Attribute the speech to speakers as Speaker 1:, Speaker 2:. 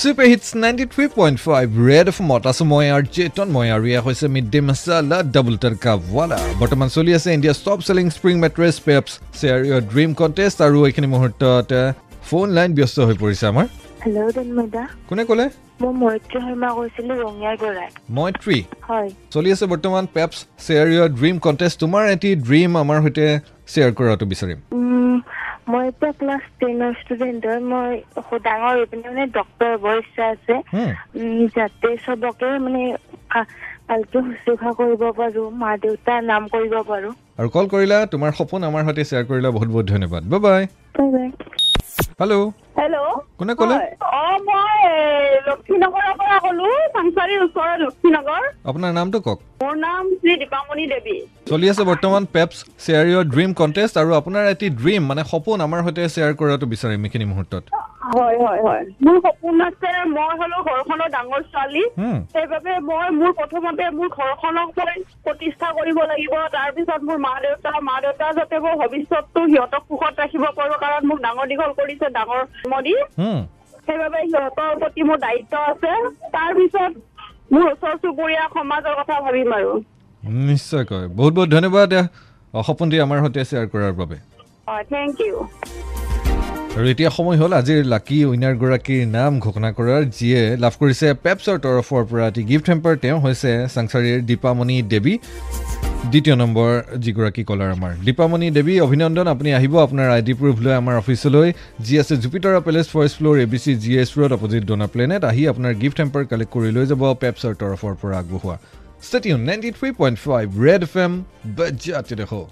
Speaker 1: super hits ninety three point five red F মত আছো মই আৰু চেতন মই আৰু এয়া হৈছে mid day masala double tadka ৱালা বৰ্তমান চলি আছে India top selling spring mattress Peps share your dream contest আৰু এইখিনি মুহূৰ্তত ফোন লাইন ব্যস্ত হৈ পৰিছে আমাৰ
Speaker 2: হেল্ল' তন্ময় দা
Speaker 1: কোনে ক'লে
Speaker 2: মই মৈত্ৰ শৰ্মা কৈছিলো ৰঙিয়াৰ পৰাই
Speaker 1: মই থ্ৰী
Speaker 2: হয়
Speaker 1: চলি আছে বৰ্তমান Peps share your dream contest তোমাৰ এটি ড্ৰিম আমাৰ সৈতে শ্বেয়াৰ কৰাটো বিচাৰিম
Speaker 3: Mm,
Speaker 2: উম, মই
Speaker 3: e
Speaker 2: এতিয়া ক্লাছ টেনৰ ষ্টুডেণ্ট হয় মই সু- ডাঙৰ হৈ পিনে মানে ডক্তৰ হ'ব ইচ্ছা আছে
Speaker 1: হুম,
Speaker 2: উম,
Speaker 3: Mm,
Speaker 2: যাতে চবকে মানে ভা- ভালকে শুশ্ৰূষা কৰিব পাৰো মা দেউতাৰ নাম কৰিব পাৰো
Speaker 1: আৰু কল কৰিলা তোমাৰ সপোন আমাৰ সৈতে শ্বেয়াৰ কৰিলা বহুত বহুত ধন্যবাদ বাই বাই হেল্ল'
Speaker 3: হেল্ল'
Speaker 1: কোনে ক'লে
Speaker 3: অ মই এই, লক্ষীনগৰৰ পৰা ক'লো চাংচাৰীৰ ওচৰৰ লক্ষীনগৰ
Speaker 1: আপোনাৰ নামটো কওক
Speaker 3: মোৰ নাম শ্ৰী দীপামণি দেৱী
Speaker 1: চলি আছে বৰ্তমান Peps share your dream contest আৰু আপোনাৰ এটি ড্ৰিম মানে সপোন আমাৰ সৈতে শ্বেয়াৰ কৰাটো বিচাৰিম এইখিনি মুহূৰ্তত
Speaker 3: হয় হয় হয় মোৰ সপোন আছে মই হলো ঘৰখনৰ ডাঙৰ ছোৱালী
Speaker 1: হুম,
Speaker 3: সেইবাবে মই মোৰ প্ৰথমতে মোৰ ঘৰখনক মই প্ৰতিষ্ঠা কৰিব লাগিব তাৰ পিছত মোৰ মা দেউতা মা দেউতা যাতে মোৰ ভৱিষ্যতটো সিহঁতক সুখত ৰাখিব পাৰো কাৰণ মোক ডাঙৰ দীঘল কৰিছে ডাঙৰ মদি
Speaker 1: হুম,
Speaker 3: সেইবাবে সিহঁতৰ প্ৰতি মোৰ দায়িত্ব আছে তাৰপিছত মোৰ ওচৰ চুবুৰীয়া সমাজৰ কথা ভাবিম আৰু
Speaker 1: নিশ্চয়কৈ বহুত বহুত ধন্যবাদ এ, সপোনটি আমাৰ সৈতে শ্বেয়াৰ কৰাৰ বাবে
Speaker 3: হয় থেংক ইউ
Speaker 1: আৰু এতিয়া সময় হ'ল আজিৰ লাকি উইনাৰগৰাকীৰ নাম ঘোষণা কৰাৰ যিয়ে লাভ কৰিছে পেপছৰ তৰফৰ পৰা এটি গিফ্ট হেম্পাৰ তেওঁ হৈছে চাংচাৰীৰ দীপামণি দেৱী দ্বিতীয় নম্বৰ যিগৰাকী কলাৰ আমাৰ দীপামণি দেৱী অভিনন্দন আপুনি আহিব আপোনাৰ আই ডি প্ৰুফ লৈ আমাৰ অফিচলৈ যি আছে Jupiter palace first floor A B C G S road opposite Dona planet আহি আপোনাৰ গিফ্ট হেম্পাৰ কালেক্ট কৰি লৈ যাব পেপছৰ তৰফৰ পৰা আগবঢ়োৱা stay tuned ninety three point five red F M বাজ্যাতি দেখো